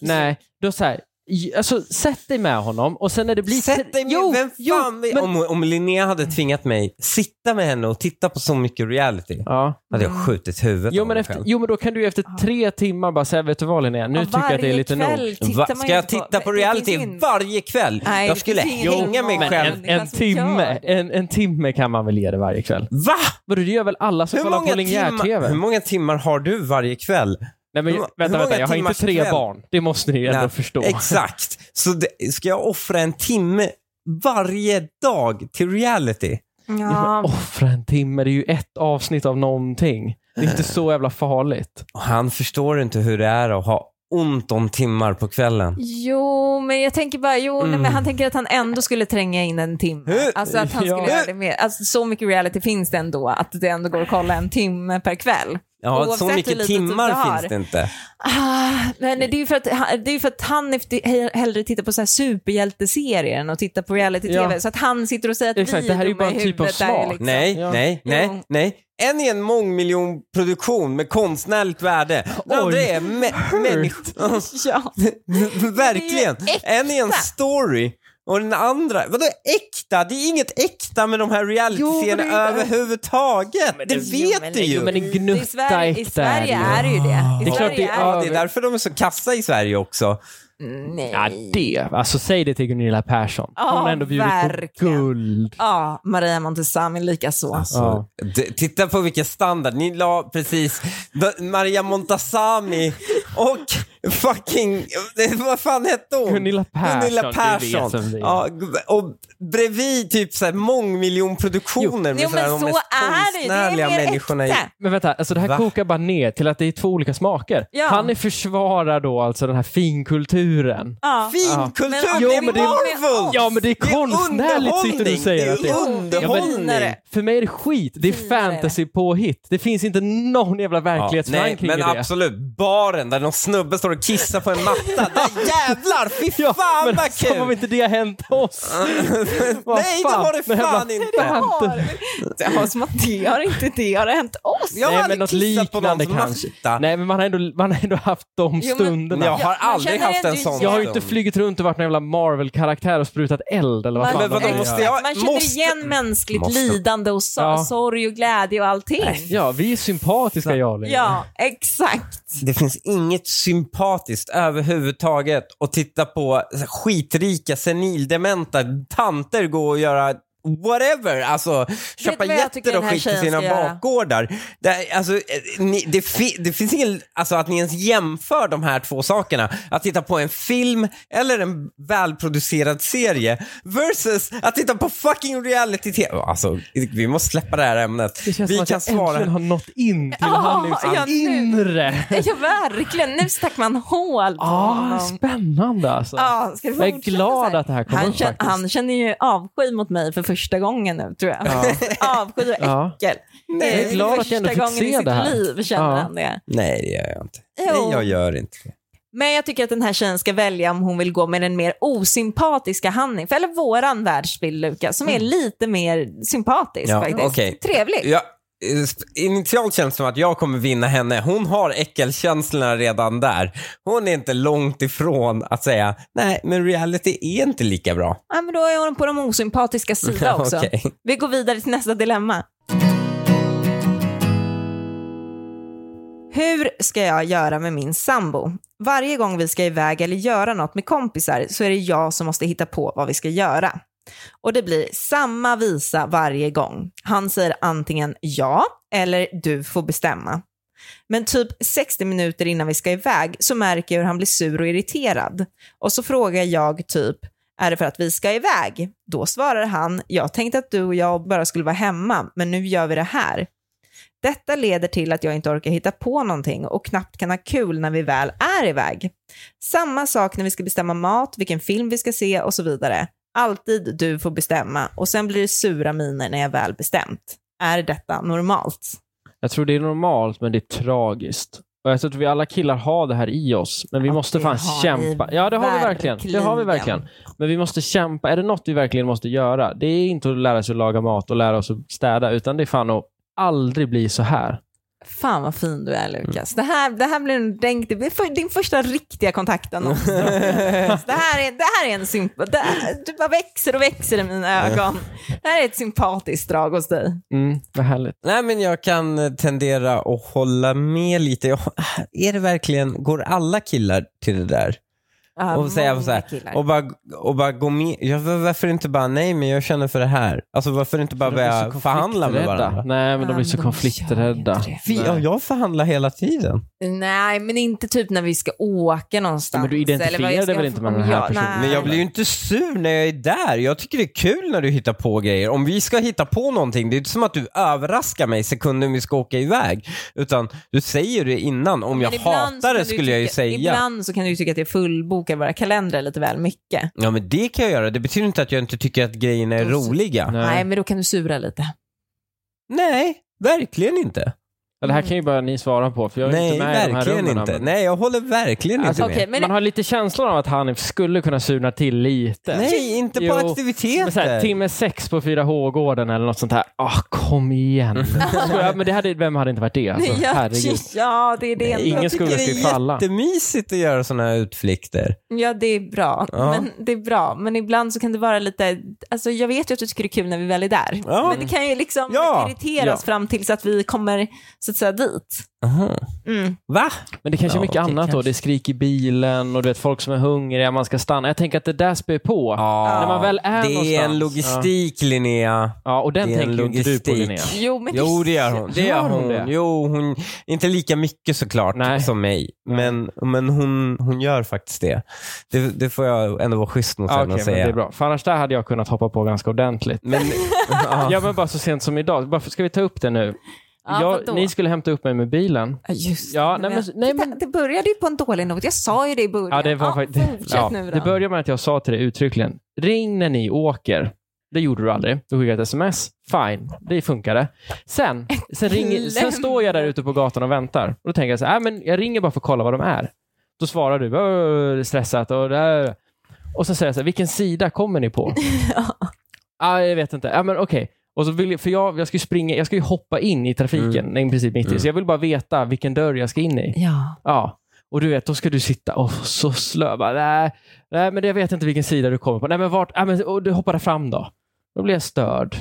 Nej, nej. Då så här, j- alltså, sätt dig med honom och sen när det blir...
Sätt dig med,
jo,
vem
jo,
fan vill-
men-
om, om Linnea hade tvingat mig sitta med henne och titta på så mycket reality,
Ja.
hade
Mm.
jag skjutit huvudet
Jo
av
men,
mig
efter,
själv.
jo, men då kan du ju efter tre timmar bara säga, vet du vad Linnea, nu
Ja,
tycker jag att det är
varje
lite nog.
kväll tittar
Va,
man
ska
ju
jag
inte
titta på
det- det
reality
finns ju-
varje kväll?
Nej,
jag
det
skulle
finns ingen
hänga mig
normal-
Men
själv.
en,
Det är
en,
som gör
timme,
det.
en, en timme kan man väl ge det varje kväll?
Va?
Vadå, det gör väl alla som
Hur
kollar på
många, timmar, hur
linjär-tv?
många timmar har du varje kväll?
Nej men
hur- hur
vänta,
många
vänta, jag har inte
timmars
tre
kväll?
barn. Det måste ni ju ändå
Nej,
förstå.
Exakt. Så det, ska jag offra en timme varje dag till reality?
Ja,
Offra en timme, det är ju ett avsnitt av någonting. Det är inte så jävla farligt.
Och han förstår inte hur det är att ha ont om timmar på kvällen.
jo, men jag tänker bara, jo, nej, men han tänker att han ändå skulle tränga in en timme.
Mm. Hur?
Alltså att han skulle
Ja.
göra det mer. Alltså, så mycket reality finns det ändå, att det ändå går att kolla en timme per kväll.
Ja,
Oavsett
så
hur
mycket
lite
timmar
tid du har.
finns det inte.
Ah, men det är ju för att, han- det är ju för att han efter- hellre tittar på så här superhjälteserier än att titta på reality-tv.
Ja.
Så att han sitter och säger att
Exakt,
vi
det här är ju
dumma
bara en
i
typ av
huvudet, där är
smak.
liksom-
Nej,
Ja.
nej, nej,
Jo.
nej. En är en mångmiljonproduktion med konstnärligt värde. Den
Oj.
andra är mä- människor.
Ja.
Verkligen.
Men det är ju äkta.
En är en story. Och den andra, vadå äkta? Det är inget äkta med de här realityscenerna överhuvudtaget. Det, vet du ju.
Jo, men en
liksom. I
gnutta
Sverige, I
äkta är det
Sverige
ju.
är det ju det. I
Det är klart
Sverige
det är
Ja,
det.
det är därför de är så kassa i Sverige också.
Nej.
Ja, det. Alltså säg det till Gunilla Persson. Hon
Ja,
har ändå bjudit
verkligen.
på guld.
Ja, Maria Montazami likaså.
Alltså,
Ja.
d- Titta på vilken standard. Ni la precis d- Maria Montazami och fucking, vad fan hette hon?
Gunilla Persson,
Gunilla
du vet
Persson.
vem det är.
Ja, g- och bredvid typ så här mångmiljonproduktioner med
Jo,
så här,
men
de
så
mest
är det ju. Det är
konstnärliga
mer
människorna i...
äkta.
Men vänta, alltså det här
Va?
kokar bara ner till att det är två olika smaker.
Ja.
Han är försvarar då alltså den här finkulturen.
Ja.
Finkultur,
Men om
det
det
är
är
Marvel!
många-
Ja, men det är konstnärligt sitter du och säger att det
Det är
är.
underhållning!
finare.
För mig är det skit. Det är
Finare.
fantasy på hit. Det finns inte någon jävla
Ja, nej,
verklighetsförankring
men
i det.
absolut. Baren där någon snubbe står och kissar på en matta. Där jävlar! Fy fan
men
vad
som om
kul!
inte det har hänt oss. Vad
Nej, det
fan,
har det
den jävla
fan inte.
fantasy-
Det har som att det har inte det har hänt oss.
Jag
Nej,
hade
men något
kissat på någon
liknande
som
kanske.
matta.
Nej, men man har ändå, man har ändå haft de
Jo, men-
stunderna.
Jag har
Jag- jag
aldrig
känner
haft en
ändå
sån
Jag har ju
stund.
inte flugit runt och varit någon jävla Marvel-karaktär och sprutat eld eller vad
Man-
fan
Men
de
vadå,
nu gör.
måste jag-
Man känner
måste-
igen mänskligt
Måste.
lidande och so-
Ja.
sorg och glädje och allting.
Ja, vi är sympatiska jag och Lena.
Ja, exakt.
Det finns inget empatiskt överhuvudtaget och titta på skitrika, senildementa tanter gå och göra whatever, alltså köpa
vad jag tycker
getter och
den här
skit till
tjejen
sina
ska göra?
bakgårdar. Det, är- alltså, eh, ni, det, fi, det finns ingen, alltså att ni ens jämför de här två sakerna, att titta på en film eller en välproducerad serie versus att titta på fucking reality-tv. Alltså, vi måste släppa det här ämnet.
Det känns
vi
som att jag äntligen har nått in till
Ja,
Hanifs
ja, nu.
inre.
Ja, verkligen. Nu stack man hål på
Ah,
honom.
spännande alltså.
Ja, ska vi
Jag är
fortsätta
glad
så
att det här kom
han
upp
känner,
faktiskt.
han känner ju avsky mot mig för första gången nu, tror jag. avsky och
Ja.
äckel.
Nej.
Det
Jag är glad att jag
första
ändå fick
gången i
se
sitt
det här.
liv känner
Ja.
han det.
Nej, det gör jag inte.
Jo.
Nej, jag gör inte det.
Men jag tycker att den här tjejen ska välja om hon vill gå med den mer osympatiska Hanif, eller våran världsbild Lukas, som
Mm.
är lite mer sympatisk
Ja,
faktiskt.
okej.
Trevligt.
Ja, eh, initialt känns det som att jag kommer vinna henne. Hon har äckelkänslorna redan där. Hon är inte långt ifrån att säga nej, men reality är inte lika bra.
Ja, men då är hon på de osympatiska sida också.
Okej.
Vi går vidare till nästa dilemma. Hur ska jag göra med min sambo? Varje gång vi ska iväg eller göra något med kompisar så är det jag som måste hitta på vad vi ska göra. Och det blir samma visa varje gång. Han säger antingen ja eller du får bestämma. Men typ 60 minuter innan vi ska iväg så märker jag hur han blir sur och irriterad. Och så frågar jag typ, är det för att vi ska iväg? Då svarar han, jag tänkte att du och jag bara skulle vara hemma, men nu gör vi det här. Detta leder till att jag inte orkar hitta på någonting och knappt kan ha kul när vi väl är iväg. Samma sak när vi ska bestämma mat, vilken film vi ska se och så vidare. Alltid du får bestämma och sen blir det sura miner när jag väl bestämt. Är detta normalt?
Jag tror det är normalt, men det är tragiskt. Och jag tror att vi alla killar har det här i oss, men vi
Ja,
måste
det
fan
har
kämpa.
vi
Ja, det har vi verkligen. Det har vi
verkligen.
verkligen. Men vi måste kämpa. Är det något vi verkligen måste göra, det är inte att lära sig att laga mat och lära oss att städa, utan det är fan att aldrig bli så här.
Fan vad fin du är Lukas.
Mm.
Det, här, det här blir en dränk, det blir för, din första riktiga kontaktannons. det, här är, det här är en sympa, det, här- du bara växer och växer i mina ögon. Det här är ett sympatiskt drag hos dig.
Mm, vad härligt.
Nej, men jag kan eh, tendera att hålla med lite. Jag, är det verkligen, går alla killar till det där?
Ja,
och säga
många
så här,
killar.
och bara, och bara gå med. Ja, var- varför inte bara, nej men jag känner för det här. Alltså varför inte bara
De blir
börja
så
förhandla med
konflikträdda.
varandra?
Nej, men de blir så
Ja,
konflikträdda.
gör inte
Vi, ja, jag förhandlar hela tiden.
det. Nej, men inte typ när vi ska åka någonstans.
Men du identifierar
eller vad jag ska-
dig väl inte med den här
Ja,
personen?
nej.
Men jag blir ju inte sur när jag är där. Jag tycker det är kul när du hittar på grejer. Om vi ska hitta på någonting, det är inte som att du överraskar mig sekunden vi ska åka iväg. Utan du säger det innan. Om jag
Men ibland så
hatar
kan
det
du
skulle jag ju
tycka-
säga.
Ibland så kan du ju tycka att jag fullbokar våra kalendrar lite väl mycket.
Ja men det kan jag göra. Det betyder inte att jag inte tycker att grejerna är
Då så-
roliga. Nej,
Nej.
Nej.
men då kan du sura lite.
verkligen inte.
Ja, Det här kan ju bara ni svara på, för jag är
Nej,
inte med i de här
verkligen
rummen.
inte.
men-
Nej, jag håller verkligen
Alltså,
inte med.
Okej, men
Man har lite känslan av att han skulle kunna surna till lite.
Nej, inte på
Jo,
aktiviteter.
Men så här, timme sex på 4H-gården eller något sånt här. Ah, kom igen. Skojar, men det hade, vem hade inte varit det? Alltså,
ja,
herregud.
ja, det är det
Nej,
enda.
Ingen
jag tycker
skugga ska ju falla.
Det är jättemysigt att göra sådana här utflykter.
Ja, det är bra.
Ja.
Men det är bra. Men ibland så kan det vara lite, alltså jag vet ju att du tycker det är kul när vi väl är där.
Ja.
Men det kan ju liksom
Ja.
irriteras
Ja.
fram tills att vi kommer så att säga dit.
Aha.
Mm.
Va?
Men det kanske
Ja,
är mycket
okej,
annat då.
kanske.
Det är skrik i bilen och du vet folk som är hungriga, man ska stanna. Jag tänker att det där spär på.
Ja,
När man väl är
det är
någonstans.
en logistik Linnea.
Ja, och den
Det är en
tänker ju inte du på
logistik.
Linnea.
Jo, men
Jo det gör hon. Det
Gör
gör
hon
hon.
det?
Jo, hon, inte lika mycket såklart
Nej.
som mig. Men, men hon, hon gör faktiskt det. det. Det får jag ändå vara schysst mot
Ja,
henne
Okej,
och
men det
säga.
är bra. För annars där hade jag kunnat hoppa på ganska ordentligt.
Men, ja.
Ja, men bara så sent som idag. Bara, för- ska vi ta upp det nu?
Ja, vadå?
jag, ni skulle hämta upp mig med bilen.
Ja, just
Ja,
det.
nej, men- nej,
Titta,
men-
Det började ju på en dålig not. Jag sa ju det i början.
Ja, det var faktiskt...
Fortsätt
Ja,
nu då.
det börjar med att jag sa till dig uttryckligen, ring när ni åker. Det gjorde du aldrig. Du skickade ett sms. Fine, det funkade. Sen, sen, ringer, sen står jag där ute på gatan och väntar. Och då tänker jag så här, "Äh, men jag ringer bara för att kolla var de är. Då svarar du, "Åh, stressat och där. Och så säger jag så här, vilken sida kommer ni på? ah, jag vet inte. Ja, men okej. Och så vill jag, för jag, jag ska ju springa, jag ska ju hoppa in i trafiken, i princip mitt i. Så jag vill bara veta vilken dörr jag ska in i.
Ja.
Ja. Och du vet, då ska du sitta och så slö. Bara, Nej, nej, men jag vet inte vilken sida du kommer på. Nej, men vart? Nej, men, och du hoppade fram då. Då blir jag störd.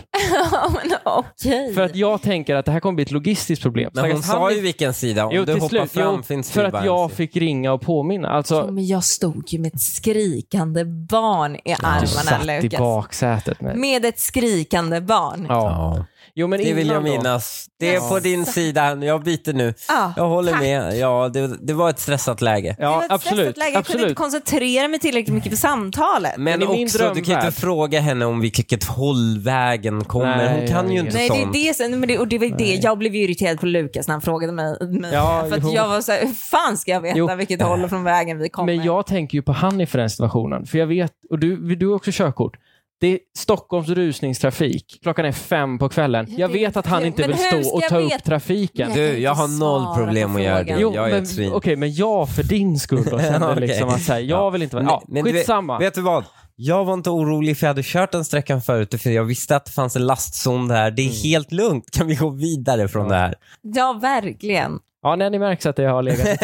Ja, men okej.
För att jag tänker att det här kommer bli ett logistiskt problem.
Men hon
Stackars han
sa
är-
ju vilken sida. Om
Jo,
du
till
hoppar
slut.
fram
jo,
finns
för
det
att
bara en
jag
sida.
fick ringa och påminna. Alltså,
Ja, Men jag stod ju med ett skrikande barn i
du
armarna,
satt i
Lukas.
baksätet med...
Med ett skrikande barn. Ja,
Ja.
Ja.
Jo, men
Det vill
innan
jag
då.
minnas. Det är på din sida. Jag byter nu. Jag håller
tack.
med. Ja, det, det var ett stressat läge.
Det var
Ja,
ett stressigt
absolut.
läge. Jag kunde
absolut.
inte koncentrera mig tillräckligt mycket för samtalet.
Men,
Men i min
också, du kan ju
drömvärld-
inte fråga henne om vilket håll vägen kommer.
Nej,
Hon kan
jag
ju
vet.
Nej,
inte
det är
sånt.
det, sen- men det, och det var ju det. Jag blev ju irriterad på Lukas när han frågade mig. mig
Ja,
för
jo.
att jag var så här, hur fan ska jag veta
Jo.
vilket håll från vägen vi kommer?
Men jag tänker ju på han i den situationen. För jag vet, och du, du har också körkort. Det är Stockholms rusningstrafik. Klockan är fem på kvällen.
Ja,
Jag
det-
vet att han inte
Men
vill
hur
stå
ska
och
jag
ta upp
veta?
trafiken.
Nej.
Du, jag har noll problem att göra det.
Jo,
Jo,
Jag är
men,
ett svin.
okej, men jag för din skull då kände
Ja, okej.
liksom att så här, jag vill inte vara... Ja,
Men du vet-
skitsamma.
Vet du vad? Jag var inte orolig för jag hade kört den sträckan förut för jag visste att det fanns en lastzon där. Det är
Mm.
helt lugnt. Kan vi gå vidare från det här?
Ja, verkligen.
Ja, nej, ni märks att jag har legat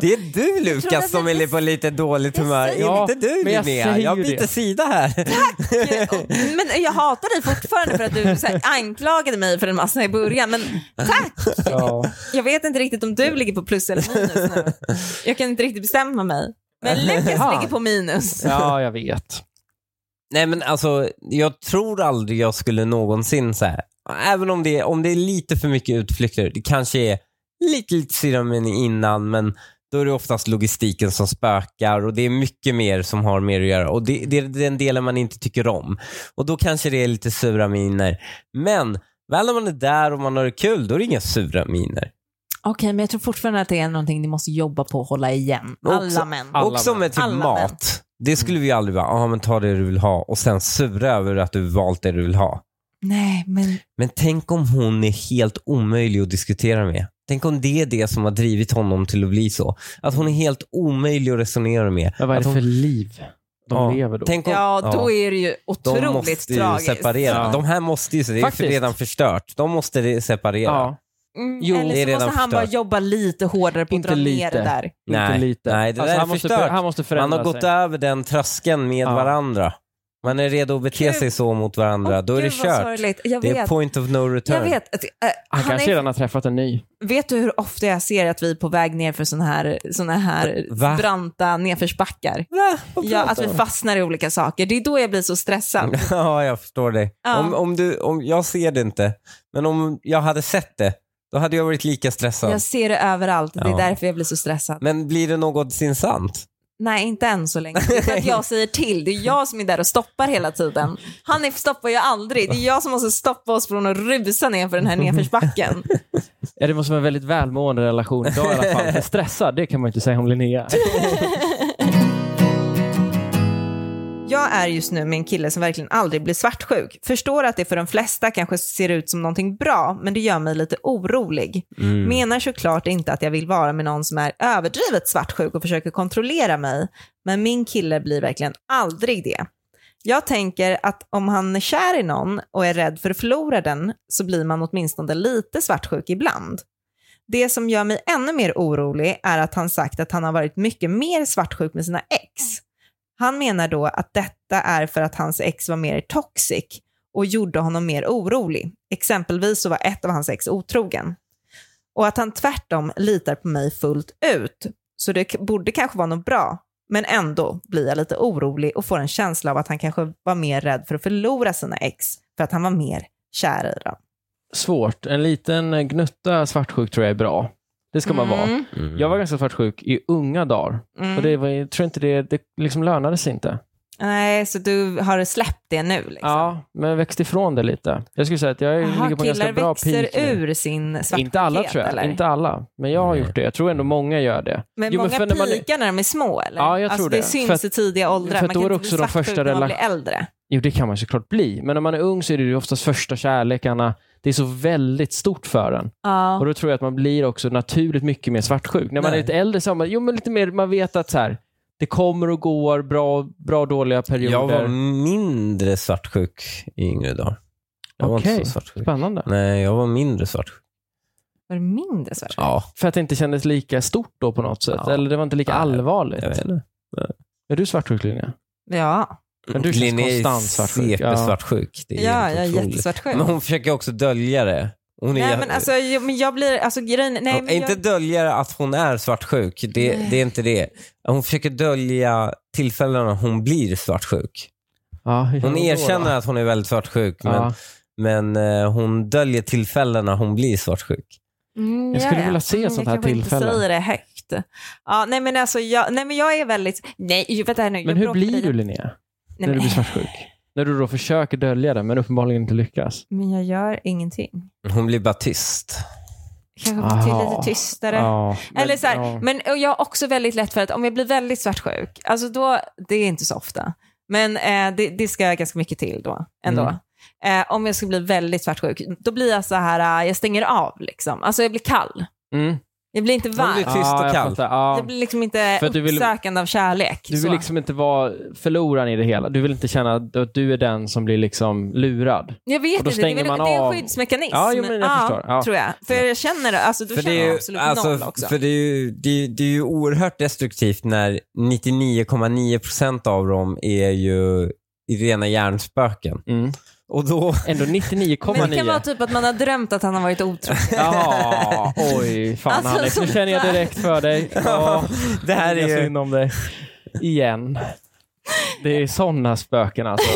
Det är du
tror att
Lukas som
jag-
är på lite dåligt
jag
humör.
säger-
inte du
men jag
Linnea.
säger
Jag
ju
byter
det.
sida här.
Men jag hatar dig fortfarande för att du så här, anklagade mig för en massa i början. Men tack!
ja.
Jag vet inte riktigt om du ligger på plus eller minus nu. Jag kan inte riktigt bestämma mig. Men Lukas
Fan.
ligger på minus.
ja, jag vet.
Nej men alltså, jag tror aldrig jag skulle någonsin så här. Även om det, om det är lite för mycket utflykter. Det kanske är lite, lite syramin innan men då är det oftast logistiken som spökar och det är mycket mer som har mer att göra. Och det, det är den delen man inte tycker om. Och då kanske det är lite sura miner. Men väl när man är där och man har det kul, då är det inga sura miner.
Okej, men jag tror fortfarande att det är någonting ni måste jobba på och hålla igen.
Också-
Alla män.
Alla
Också
män.
med typ
Alla män.
mat. Det skulle vi ju aldrig vara, ja men ta det du vill ha och sen sura över att du valt det du vill ha.
Nej, men
Men tänk om hon är helt omöjlig att diskutera med. Tänk om det är det som har drivit honom till att bli så. Att hon är helt omöjlig att resonera med.
Men vad är
Att
det
hon,
för liv de
Ja.
lever då?
Tänk om,
ja, då
ja,
är det ju
de
otroligt
måste ju
tragiskt.
separera.
Ja.
De här måste ju, det är ju för
Faktiskt.
redan förstört. De måste re- separera.
ja,
Mm,
Jo,
eller
det är
så måste
redan
han bara
förstört.
jobba lite hårdare på att
Inte
dra ner
lite.
det där.
Nej,
inte lite. Alltså,
nej, det där är
han, måste,
förstört.
han måste förändra
Man har gått
sig.
över den tröskeln med
Ja.
varandra. Man är redo att bete
Gud.
sig så mot varandra.
Åh,
då är det
gud, vad
kört.
sorgligt. Jag
Det är
vet.
point of no return.
Jag vet. Att, eh,
Han,
han
kanske
är,
redan har träffat en ny.
vet du hur ofta jag ser att vi är på väg ner för sådana här, såna här
Va?
branta nedförsbackar?
Va? Vad
Ja,
pratar
att vi
du om?
fastnar i olika saker. Det är då jag blir så stressad.
Ja, jag förstår dig.
Ja.
Om, om du, om, jag ser det inte, men om jag hade sett det, då hade jag varit lika stressad.
Jag ser det överallt. Det är
Ja.
därför jag blir så stressad.
Men blir det någonsin sant?
Nej, inte än så länge. Det är för att jag säger till. Det är jag som är där och stoppar hela tiden. Han stoppar ju aldrig. Det är jag som måste stoppa oss från att rusa ner för den här nedförsbacken.
Ja, det måste vara en väldigt välmående relation idag i alla fall. Men stressad, det kan man ju inte säga om Linnea.
Jag är just nu med en kille som verkligen aldrig blir svartsjuk. Förstår att det för de flesta kanske ser ut som någonting bra, men det gör mig lite orolig.
Mm.
Menar såklart inte att jag vill vara med någon som är överdrivet svartsjuk och försöker kontrollera mig, men min kille blir verkligen aldrig det. Jag tänker att om han är kär i någon och är rädd för att förlora den så blir man åtminstone lite svartsjuk ibland. Det som gör mig ännu mer orolig är att han sagt att han har varit mycket mer svartsjuk med sina ex. Han menar då att detta är för att hans ex var mer toxic och gjorde honom mer orolig. Exempelvis så var ett av hans ex otrogen. Och att han tvärtom litar på mig fullt ut. Så det k- borde kanske vara något bra. Men ändå blir jag lite orolig och får en känsla av att han kanske var mer rädd för att förlora sina ex för att han var mer kär i dem.
Svårt. En liten eh, gnutta svartsjuk tror jag är bra. Det ska man vara.
Mm,
Jag var ganska svartsjuk i unga dagar.
mm.
Och det var, jag tror inte det, det liksom lönade sig inte.
Nej, så du har släppt det nu? Liksom.
Ja, men jag växte ifrån det lite. Jag skulle säga att jag
Aha,
ligger på en ganska
killar
bra
växer
peak nu.
ur sin svartsjukhet?
Inte alla tror jag.
eller?
Inte alla. Men jag har
Nej.
gjort det. Jag tror ändå många gör det.
Men
Jo, men
många
för när man-
pikar när de är små eller?
Ja, jag
alltså,
tror
det.
det.
syns
För att-
i tidiga åldrar.
för
man
att då
kan
är det
inte
också
bli
de
svartsjuk
första
när man
rela-
blir äldre.
Jo, det kan man såklart bli. Men när man är ung så är det ju oftast första kärlekarna. Det är så väldigt stort för en. Och
Ja.
då tror jag att man blir också naturligt mycket mer svartsjuk. När man
Nej.
är lite äldre så har man, jo, men lite mer, man vet att så här, det kommer och går, bra, bra och dåliga perioder.
Jag var mindre svartsjuk i yngre dagar. Jag var
Okej.
inte så svartsjuk.
Spännande.
Nej, jag var mindre svartsjuk.
Var det mindre svartsjuk?
Ja,
För att det inte kändes lika stort då på något sätt.
Ja.
Eller det var inte lika
Nej,
allvarligt.
jag vet inte.
Är du svartsjuk Linnea?
Ja.
Men du känns
Linnea är
konstant svartsjuk.
CP
Ja.
svartsjuk. Det är
Ja,
helt
jag är
otroligt.
jättesvartsjuk.
Men hon försöker också dölja det. Hon är,
Nej men alltså, jo, men jag blir, alltså grejen, nej
hon,
men
Inte
jag,
dölja att hon är svartsjuk. Det,
Nej.
det är inte det. Hon försöker dölja tillfällena hon blir svartsjuk.
Ja, hur
Hon
då, då?
erkänner att hon är väldigt svartsjuk, men,
Ja.
men eh, hon döljer tillfällena hon blir svartsjuk.
mm,
jag skulle
ja, ja.
vilja se
Mm,
ett sånt här
Jag kanske inte
tillfälle.
säger det högt. Ja, nej men alltså jag, nej men jag är väldigt, nej vänta här nu. jag
Men hur
bråkar
blir
med
du
dig.
Linnea?
Nej,
när du
men,
blir svartsjuk? När du då försöker dölja det men uppenbarligen inte lyckas?
men jag gör ingenting.
Hon blir bara tyst.
Kanske få till
Aha.
lite tystare.
Ja, men-
Eller så här,
ja.
men och jag har också väldigt lätt för att om jag blir väldigt svartsjuk, alltså då, det är inte så ofta, men eh, det, det ska jag ganska mycket till då ändå.
Mm.
Eh, om jag ska bli väldigt svartsjuk, då blir jag så här, eh, jag stänger av liksom. Alltså jag blir kall.
Mm.
Jag blir inte varm.
blir tyst och
Ja, jag
kall.
fattar. Ja.
Jag blir liksom inte
För att du vill-
uppsökande av kärlek.
Du
så.
vill liksom inte vara förloraren i det hela. Du vill inte känna att du är den som blir liksom lurad.
Jag vet
och
inte, det
då
är,
stänger
väl-
man
det är en
av.
skyddsmekanism.
Ja, jo, men jag förstår. Ja.
Tror jag. För jag känner det, alltså då
För
känner
det, är
jag
ju,
absolut noll
alltså,
också.
för det är ju, det är, det är ju oerhört destruktivt när 99,9% av dem är ju rena hjärnspöken.
Mm.
Och då,
Ändå 99,9.
Men det kan vara typ att man har drömt att han har varit otrogen.
Ja, oj, fan
Alltså,
Alex. Nu
sånt
känner jag
där.
direkt för dig. Ja,
det här
jag
är ju,
synd om dig. Igen. Det är sådana spöken alltså.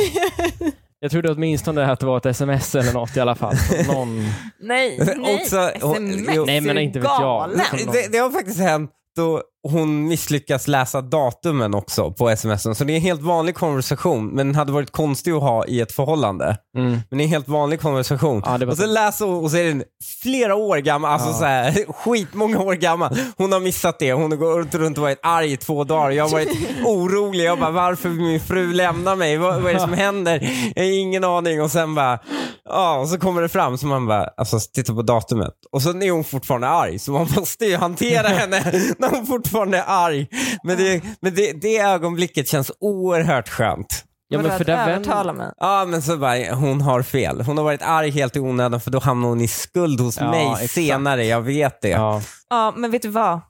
Jag trodde åtminstone att det var ett sms eller något i alla fall. från Någon...
Nej, nej.
Också-
SMS
jo.
Nej, men inte vet jag.
galen.
Nej. som någon-
det, det har faktiskt hänt då hon misslyckas läsa datumen också på smsen. Så det är en helt vanlig konversation, men den hade varit konstig att ha i ett förhållande.
Mm.
Men det är en helt vanlig konversation.
Ja, det var
och sen läser hon och så är den flera år gammal, alltså
Ja.
så här, skitmånga år gammal. Hon har missat det. Hon har gått runt och varit arg i två dagar. Jag har varit orolig. Jag bara, varför vill min fru lämna mig? Vad, vad är det som händer? Jag har ingen aning. Och sen bara, ja, och så kommer det fram. Så man bara, alltså titta på datumet. Och sen är hon fortfarande arg. Så man måste ju hantera henne när hon fortfarande är arg. Men det, men det, det ögonblicket känns oerhört skönt.
Ja, men för där
att
vänder...
övertala mig.
Ja men så bara, hon har fel. Hon har varit arg helt i onödan för då hamnar hon i skuld hos
Ja,
mig
exakt.
senare, jag vet det. Ja,
Ja.
Ja, men vet du vad?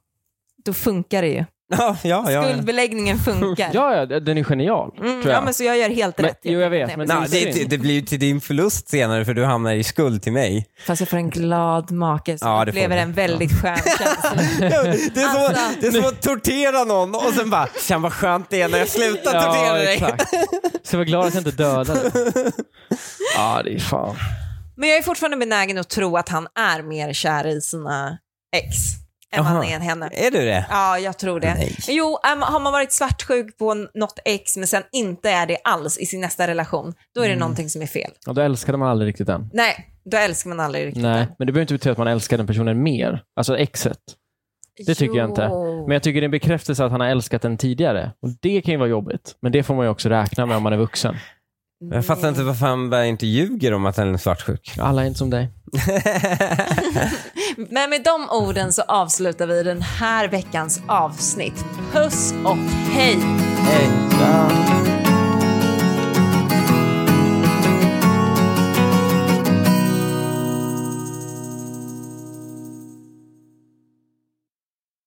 Då funkar det ju.
ja, ja. ja.
Skuldbeläggningen funkar.
Ja, ja, den är genial.
mm,
tror jag.
ja, men så jag gör helt
Men-
rätt.
jo, jag vet,
Nej,
men-
precis.
Nej, det, det, det blir ju till din förlust senare för du hamnar i skuld till mig.
Fast jag får en glad make som
Ja, det får
upplever
du.
en väldigt skön känsla.
Det är, som,
Alltså.
det är som att tortera någon och sen bara, känn vad skönt det är när jag slutar tortera dig.
exakt. Så jag var glad att jag inte dödade. Ja, det är fan.
Men jag är fortfarande benägen att tro att han är mer kär i sina ex än vad
Aha.
han är i henne.
Är du det?
Ja, jag tror det.
Nej.
Jo, äm, har man varit svartsjuk på n- något ex men sen inte är det alls i sin nästa relation, då är
Mm.
det någonting som är fel.
Ja, då älskade man aldrig riktigt den.
Nej, då älskar man aldrig riktigt
Nej, men det behöver inte betyda att man älskar den personen mer. Alltså exet. Det tycker jag inte.
Jo.
Men jag tycker det är en bekräftelse att han har älskat den tidigare. Och det kan ju vara jobbigt. Men det får man ju också räkna med om man är vuxen.
Jag fattar inte varför han bara inte ljuger om att han är svartsjuk.
Alla är inte som dig.
Men med de orden så avslutar vi den här veckans avsnitt. Puss och hej!
Hej.